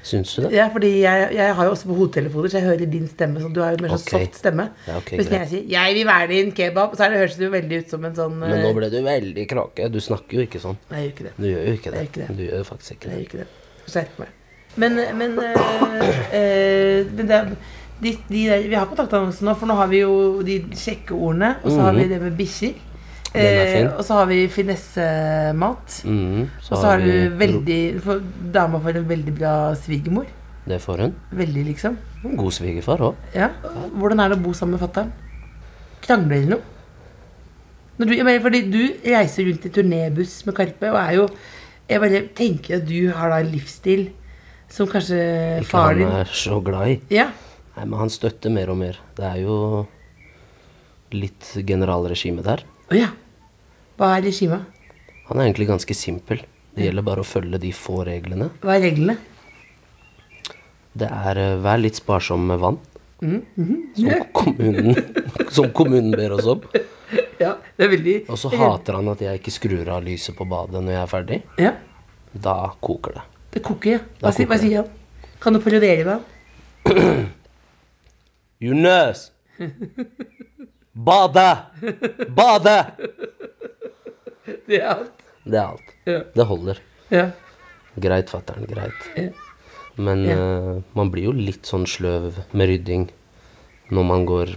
Syns du det?
Ja, fordi jeg, jeg har jo også på hodetelefoner, så jeg hører din stemme. Sånn, du har jo mer sånn
Ok.
soft stemme.
Ja, ok,
Hvis
greit.
jeg sier 'jeg vil være din kebab', så er det, høres det jo veldig ut som en sånn
Men nå
eh,
ble du veldig krake. Du snakker jo ikke sånn.
Nei, jeg gjør ikke det.
Du gjør jo ikke det.
Jeg gjør ikke det.
Du gjør faktisk ikke
Jeg
det.
gjør ikke det. Skjerp meg. Men, men, eh, eh, men det, er- de, de der, Vi har kontaktannonsen nå, for nå har vi jo de sjekkeordene. Og så har vi det med bikkjer.
Mhm.
Eh,
Den er fin.
og så har vi finessemat.
Mhm,
Og så har du veldig for, Dama får en veldig bra svigermor.
Det får hun.
Veldig, liksom.
En god svigerfar òg.
Ja. Hvordan er det å bo sammen med fatter'n? Krangler dere noe? Når du, jeg mener, fordi du reiser rundt i turnébuss med Karpe og er jo Jeg bare tenker at du har da en livsstil som kanskje
Ikke
faren
han
din
er så glad i.
Ja.
Nei, men han støtter mer og mer. Det er jo litt generalregime der.
Å ja. Hva er regimet?
Han er egentlig ganske simpel. Det gjelder bare å følge de få reglene.
Hva er reglene?
Det er eh, vær litt sparsom med vann.
Mm, mm-hmm.
Som kommunen, som kommunen ber oss om.
Ja, det er veldig
Og så hater han at jeg ikke skrur av lyset på badet når jeg er ferdig.
Ja.
Da koker det.
Det koker, ja.
Da
Hva, sier- hva
koker det.
sier han? Kan du parodiere meg?
You nurse! Bade! Bade!
Det er alt.
Det er alt.
Ja.
Det holder.
Ja.
Greit, fatter'n. Greit.
Ja.
Men eh, man blir jo litt sånn sløv med rydding når man går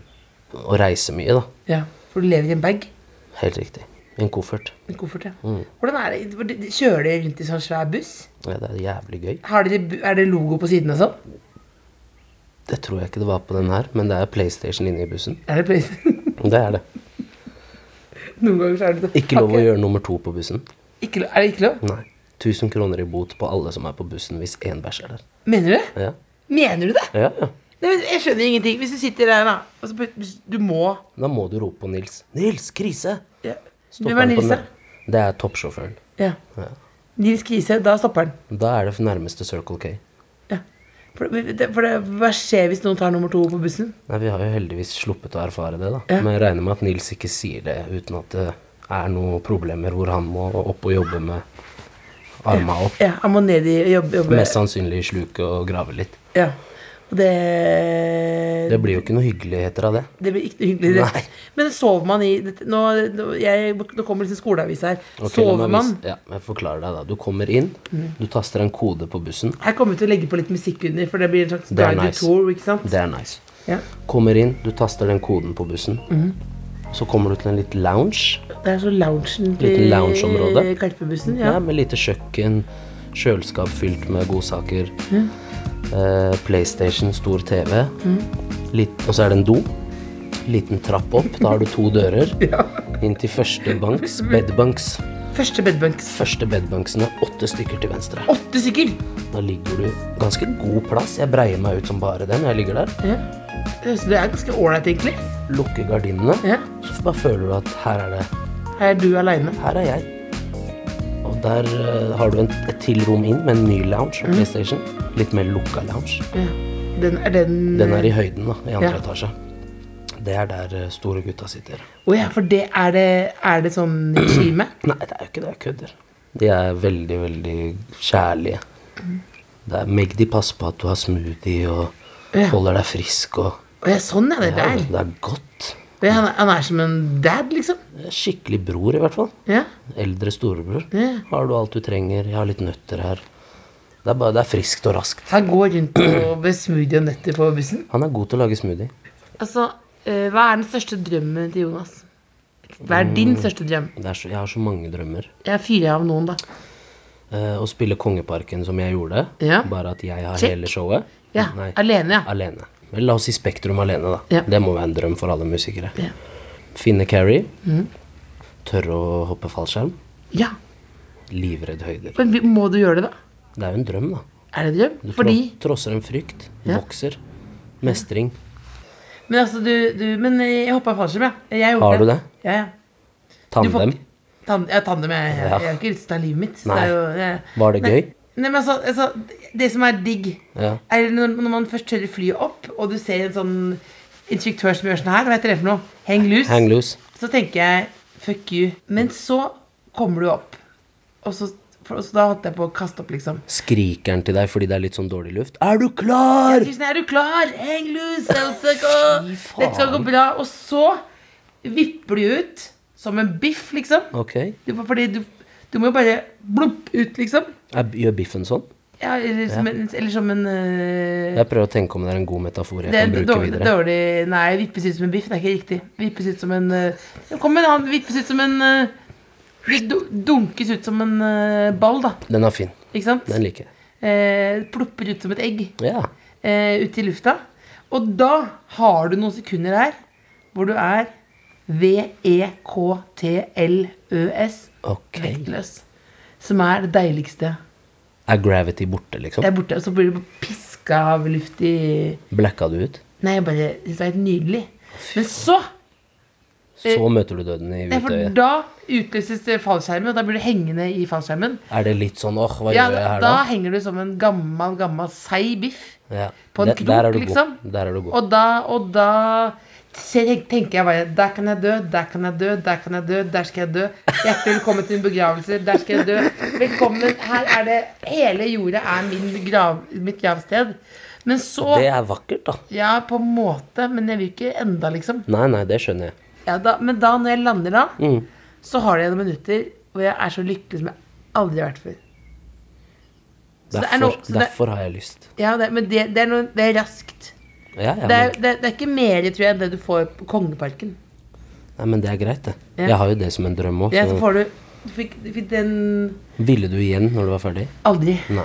og reiser mye, da.
ja. For du lever i en bag.
Helt riktig. I en koffert.
En koffert, ja.
Mm.
Hvordan er det? hvor- de- Kjører dere rundt i sånn svær buss?
Ja, det er jævlig gøy.
Har dere, bu- er det logo på siden og sånn?
Det tror jeg ikke det var på den her, men det er PlayStation inne i bussen.
Er det place?
Det er det.
Noen ganger så er det det.
Ikke lov å
Har
gjøre nummer to på bussen.
Ikke lo- er det ikke lov?
Nei. 1000 kroner i bot på alle som er på bussen hvis én bæsjer der.
Mener du det?
Ja.
Mener du det?
ja, ja.
Nei, men jeg skjønner ingenting. Hvis du sitter der, da og så, plut- Du må
Da må du rope på Nils. Nils, krise!
ja.
Stopper
Hvem er
han på
Nils, da?
den- Det er toppsjåføren.
Ja.
Ja.
Nils Krise. Da stopper han.
Da er det nærmeste Circle K.
Ja. For, det, for det, hva skjer hvis noen tar nummer to på bussen?
Nei, Vi har jo heldigvis sluppet å erfare det, da.
Ja.
Men jeg regner med at Nils ikke sier det uten at det er noen problemer hvor han må opp og jobbe med arma opp.
Ja, Han må ned i jobb, jobbe.
Mest sannsynlig sluke og grave litt.
Ja. Og det
Det blir jo ikke noe hyggeligheter av det.
Det blir ikke noe hyggelig.
Nei.
Det. Men sover man i dette- Nå, nå, jeg, nå kommer liksom skoleavis her.
Ok, la
sover
meg
man Mm.
vis- Ja, jeg forklarer deg, da. Du kommer inn, du taster en kode på bussen.
Jeg kommer til å legge på litt musikk under, for det blir en slags
Det er
guided
nice.
tour. ikke sant?
Det er nice.
Ja.
Kommer inn, du taster den koden på bussen.
Mm.
Så kommer du til en liten lounge.
Det er så loungen
Liten loungeområde.
Karpebussen.
Ja.
Ja.
med lite kjøkken, kjøleskap fylt med godsaker. Eh, PlayStation, stor TV. Litt, og så er det en do. Liten trapp opp. Da har du to dører. Inn til første banks, bedbanks.
Første bedbunks.
Første bedbunksen er åtte stykker til venstre.
Åtte stykker!
Da ligger du ganske god plass. Jeg breier meg ut som bare den. Jeg ligger der.
Ja. Så det er ganske ålreit, egentlig.
Lukker gardinene.
Ja.
Så bare føler du at her er det
Her er du aleine.
Her er jeg. Og der eh, har du en, et til rom inn med en ny lounge. og PlayStation. Litt mer lukka lounge.
Ja. Den er den
Den er i høyden, da. I andre
Ja.
etasje. Det er der eh, store gutta sitter.
Å ja, for det er det, er det sånn regime?
Nei, det er jo ikke det. Jeg kødder. De er veldig, veldig kjærlige. Mm. Det er Meg de passer på at du har smoothie og
Ja.
holder deg frisk og
Å ja, sånn er det
ja,
der.
Det er godt.
Det, han, er- han er som en dad, liksom.
Skikkelig bror, i hvert fall.
Ja.
Eldre storebror.
Ja.
Har du alt du trenger? Jeg har litt nøtter her. Det er, bare, det er friskt og raskt.
Han går rundt og med smoothie og nøtter på bussen.
Han er god til å lage smoothie.
Altså, eh, hva er den største drømmen til Jonas? Hva er
Mm.
din største drøm?
Det er så, jeg har så mange drømmer.
Jeg fyrer av noen, da.
Eh, å spille Kongeparken som jeg gjorde,
Ja.
bare at jeg har
Check.
hele showet.
Ja,
Nei,
Alene, ja.
alene. Men La oss si Spektrum alene, da.
Ja.
Det må være en drøm for alle musikere.
Ja. Mm.
Finne Carrie. Tørre å hoppe fallskjerm.
ja.
Livredd høyder.
Men vi- må du gjøre det, da?
Det er jo en drøm, da.
Er det en drøm?
Du
Fordi
tro- trosser en frykt.
Ja.
Vokser. Mestring.
Men altså, du, du Men eh, jeg hoppa i fallskjerm, jeg. jeg gjorde
Har du det?
Ja, ja. Du får
Tandem.
ikke- Tan ja, tandem. Jeg, jeg,
Ja.
jeg har ikke lyst til å ta livet mitt. så
Nei.
det er jo- jeg-
Var det
Nei.
gøy?
Nei, men altså, altså Det som er digg,
Ja.
er når, når man først tør flyet opp, og du ser en sånn instruktør som gjør sånn her, hva heter det for noe? Hang loose.
Hang loose.
Så tenker jeg fuck you. Men så kommer du opp, og så, for, og så da holdt jeg på å kaste opp, liksom.
Skriker han til deg fordi det er litt sånn dårlig luft? Er du klar?
Tusen, sånn, er du klar? Hang loose, Else. gå!
faen.
Dette skal gå bra. Og så vipper du ut som en biff, liksom.
Ok.
Du, får- fordi du, du må jo bare blopp ut, liksom.
Er, gjør biffen sånn?
Ja, eller som en, eller som en eh,
Jeg prøver å tenke om det er en god metafor jeg
Det er
kan bruke
dårlig,
videre.
dårlig Nei, vippes ut som en biff, det er ikke riktig. Vippes ut som en eh, Kom med en annen. Vippes ut som en eh, du- du- Dunkes ut som en eh, ball, da.
Den er fin.
Ikke sant?
Den liker jeg.
Eh, plopper ut som et egg
Ja.
eh, ut i lufta. Og da har du noen sekunder her hvor du er E V-E-K-T-L-Ø-S.
Ok.
Vektløs. Som er det deiligste.
Er gravity borte,
Det
liksom?
er borte, og så blir du bare piska av luft i
Blacka du ut?
Nei, jeg bare synes det er helt nydelig. Men så
Så møter du døden i
Nei, Eh, for
Utøya.
da utløses det fallskjermen, og da blir du hengende i fallskjermen.
Er det litt sånn åh, hva
Ja,
gjør jeg her
da
da?
henger du som en gammel, gammel seig biff.
Ja.
På en
Der-
krok,
der er du god.
liksom.
Der er du god.
Og da, og da ser jeg, tenker jeg bare Der kan jeg dø, der kan jeg dø, der kan jeg dø, der skal jeg dø. Hjertelig velkommen til min begravelse, der skal jeg dø. Velkommen, her er det Hele jorda er min grav, mitt gravsted. Men så
Det er vakkert, da.
Ja, på en måte, men jeg vil ikke enda, liksom.
Nei, nei, det skjønner jeg.
Ja, da, men da, når jeg lander da,
Mm.
så har det noen minutter hvor jeg er så lykkelig som jeg aldri har vært før. Så det er
Derfor,
noe- så det-
derfor har jeg lyst.
Ja, det, men det, det, er noe, det er raskt.
Ja, ja,
Det
men,
er, det, det er ikke mer, tror jeg, enn det du får på Kongeparken.
nei, men det er greit, det.
Ja.
Jeg har jo det som en drøm
Ja, så
òg.
får du, du, fikk, du fikk den
Ville du igjen når du var ferdig?
aldri.
Nei.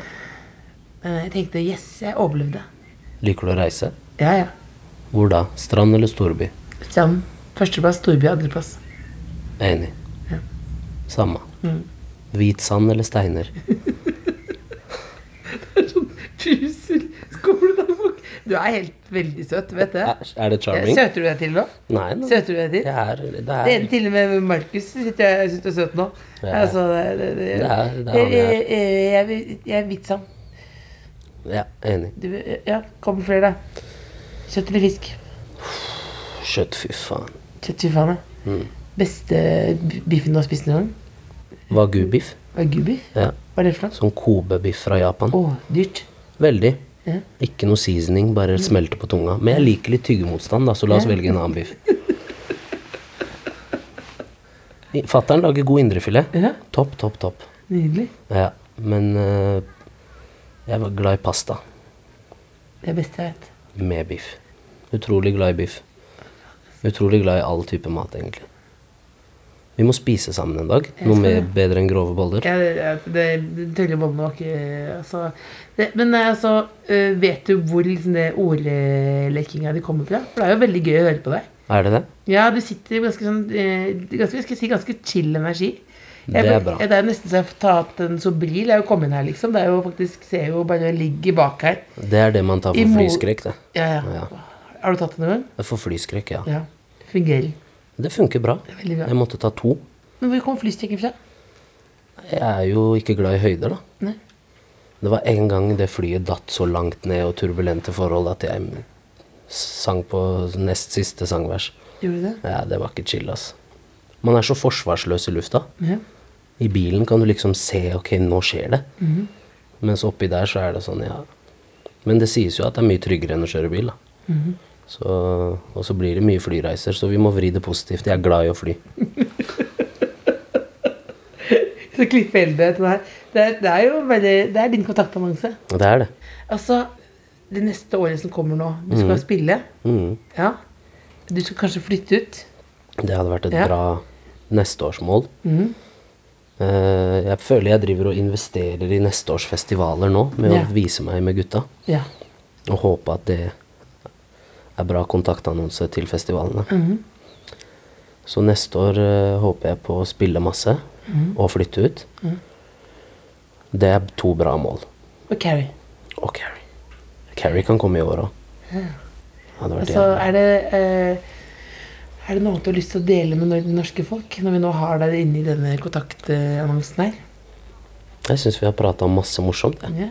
Men jeg tenkte, yes, jeg overlevde.
Liker du å reise?
Ja, ja.
Hvor da? Strand eller storby?
Strand. Førsteplass, storby, andreplass.
Jeg er enig. Samme.
Mm.
Hvit sand eller steiner?
Tusen skål, da, folk. Du er helt veldig søt, vet du. Eh,
Er, er det charming?
Søter du deg til nå?
Nei, nei.
Søter du deg til?
Det er, det
Det
er
er til og med Markus syns jeg synes du er søt nå.
Ja.
Altså, det, det, det,
Det er- det er
jeg,
han jeg er.
jeg- jeg vil- jeg er vitsam.
Ja, enig.
Du, ja, kom flere, da. Kjøtt eller fisk?
Kjøtt, fy faen.
Kjøtt, fy faen. ja.
Mm.
Beste b- biffen du har spist noen gang?
Wagyu-biff.
Var gubiff?
Ja.
Hva er det for noe?
Sånn Kobe-biff fra Japan.
Å, dyrt.
Veldig.
Ja.
Ikke noe seasoning, bare smelte på tunga. Men jeg liker litt tyggemotstand, da, så la oss velge en annen biff. Fattern lager god indrefilet.
Ja.
Topp, topp, topp.
Nydelig.
Ja, men eh, jeg var glad i pasta
Det er det beste jeg vet.
med biff. Utrolig glad i biff. Utrolig glad i all type mat, egentlig. Vi må spise sammen en dag. Noe
skal
mer
det.
bedre enn grove boller.
Ja, det, det, det- det tøller bollene var ikke altså, det, Men eh, altså, eh, vet du hvor liksom, det ordlekinga di kommer fra? For det er jo veldig gøy å høre på deg.
Er det det?
Ja, du sitter i ganske sånn eh, ganske, Jeg skal si ganske chill energi.
Det er bra.
Ja, det er nesten så jeg får ta opp en sobril. Jeg er jo kommet inn her, liksom. Det er jo faktisk, ser jo bare jeg ligger bak her.
Det er det man tar
I
for
Mo-
flyskrekk, det.
Ja,
Ja.
ja. Har du tatt det noen gang?
For flyskrekk, ja.
Ja. Fungerer.
Det funker bra.
er veldig bra.
Jeg måtte ta to.
Men hvor kom flystykket fra?
Jeg er jo ikke glad i høyder, da.
Nei.
Det var en gang det flyet datt så langt ned og turbulente forhold at jeg sang på nest siste sangvers.
Gjorde du det?
Ja, det var ikke chill, ass. Man er så forsvarsløs i lufta.
Ja.
I bilen kan du liksom se ok, nå skjer det.
Mhm.
Mens oppi der så er det sånn, ja Men det sies jo at det er mye tryggere enn å kjøre bil, da.
Mhm.
Så, og så blir det mye flyreiser, så vi må vri det positivt. Jeg er glad i å fly.
Så klippe eldre til det her. Det er, det er jo bare, det er din kontaktannonse.
Det er det.
Altså, det neste året som kommer nå, du skal spille.
Mhm.
Ja. Du skal kanskje flytte ut.
Det hadde vært et
Ja. Mhm.
bra nesteårsmål. Eh, jeg føler jeg driver og investerer i neste års festivaler nå, med
Ja.
å vise meg med gutta.
Ja.
Og håpe at det er bra kontaktannonse til festivalene.
Mhm.
Så neste år eh, håper jeg på å spille masse
Mhm.
og flytte ut. Det er to bra mål.
Og Carrie.
Og Carrie. Carrie kan komme i år òg. Hadde vært
Altså,
jævlig.
er det, eh, er det noe du har lyst til å dele med nor- det norske folk, når vi nå har deg inne i denne kontaktannonsen her?
Jeg syns vi har prata om masse morsomt. jeg.
Ja.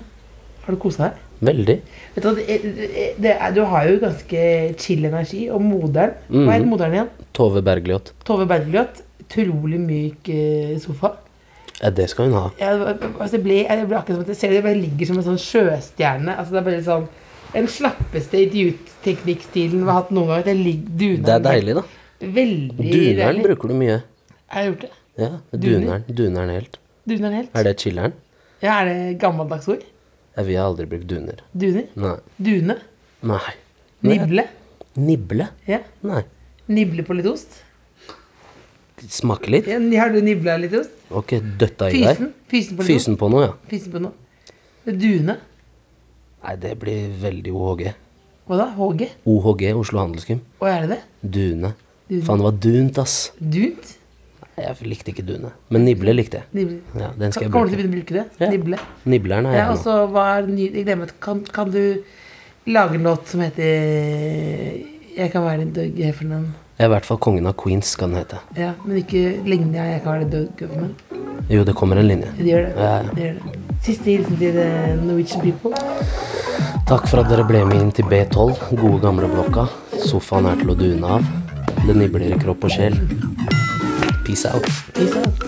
Har du kosa deg?
Veldig.
Vet du, hva, det- det er, du har jo ganske chill energi, og moderen Hva heter moderen igjen?
Tove Bergljot.
Tove Bergljot. Utrolig myk eh, sofa.
Ja, det skal hun ha.
Jeg, altså, jeg, ble, jeg ble akkurat som at jeg ser det bare ligger som en sånn sjøstjerne. Altså, det er bare sånn Den slappeste idiotteknikkstilen vi har hatt noen gang. Det, ligger, duneren,
Det er deilig, da.
Veldig
Duneren
deilig.
bruker du mye.
Har jeg gjort det?
Ja,
Duner?
Duneren duneren helt.
Duneren helt?
Er det chiller'n?
Ja, er det gammeldags ord?
Ja, vi har aldri brukt duner.
Duner?
Nei.
Dune?
Nei. Nei.
Nible?
Nible?
Ja.
Nei.
Nible på litt ost?
Smake litt?
Ja, har du nibla litt ost?
Ok, døtta i deg?
Fysen? Fysen på litt ost?
Fysen på noe, ja.
Fysen på noe? Dune?
Nei, det blir veldig OHG.
Hva da? HG?
OHG, Oslo Handelsgym.
Å, er det det?
Dune.
Dune.
Faen, det var dunt, ass.
Dunt?
Nei, Jeg likte ikke dune. Men nible likte jeg.
Nible.
Ja, den skal
Kan,
jeg
kommer du til å
bruke.
begynne å bruke det?
Ja.
Nible?
Nibleren er
Ja, altså-
jeg
og
nå.
så var ny, jeg glemmer, kan, kan du lage en låt som heter Jeg kan være din Doug Heffernan.
Jeg er i hvert fall kongen av Queens, skal den hete.
Ja, men ikke lignende jeg, jeg kan være din Doug Heffernan.
Jo, det kommer en linje.
Det gjør det.
Ja, ja.
det, gjør det. Siste hilsen til the Norwegian people.
Takk for at dere ble med inn til B12, gode gamle blokka. Sofaen er til å dune av. Det nibler i kropp og sjel. Peace out.
Peace out.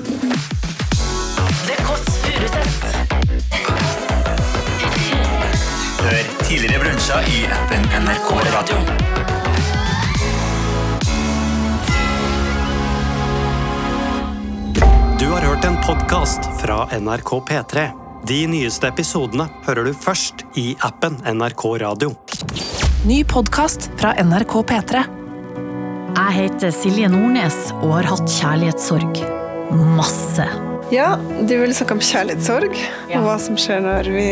Det Kåss Furuseths.
Hør tidligere brunsja i appen NRK Radio.
Du har hørt en podkast fra NRK P3. De nyeste episodene hører du først i appen NRK Radio.
Ny podkast fra NRK P3.
Jeg heter Silje Nordnes og har hatt kjærlighetssorg. Masse.
Ja, du vil snakke om kjærlighetssorg, og hva som skjer når vi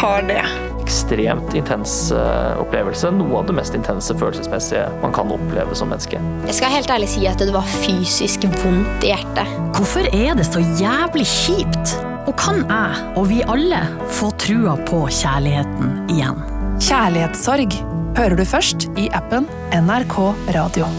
har det.
ekstremt intens eh, opplevelse. Noe av det mest intense følelsesmessige man kan oppleve som menneske.
Jeg skal helt ærlig si at det var fysisk vondt i hjertet.
Hvorfor er det så jævlig kjipt? Og kan jeg, og vi alle, få trua på kjærligheten igjen?
Kjærlighetssorg hører du først i appen NRK Radio.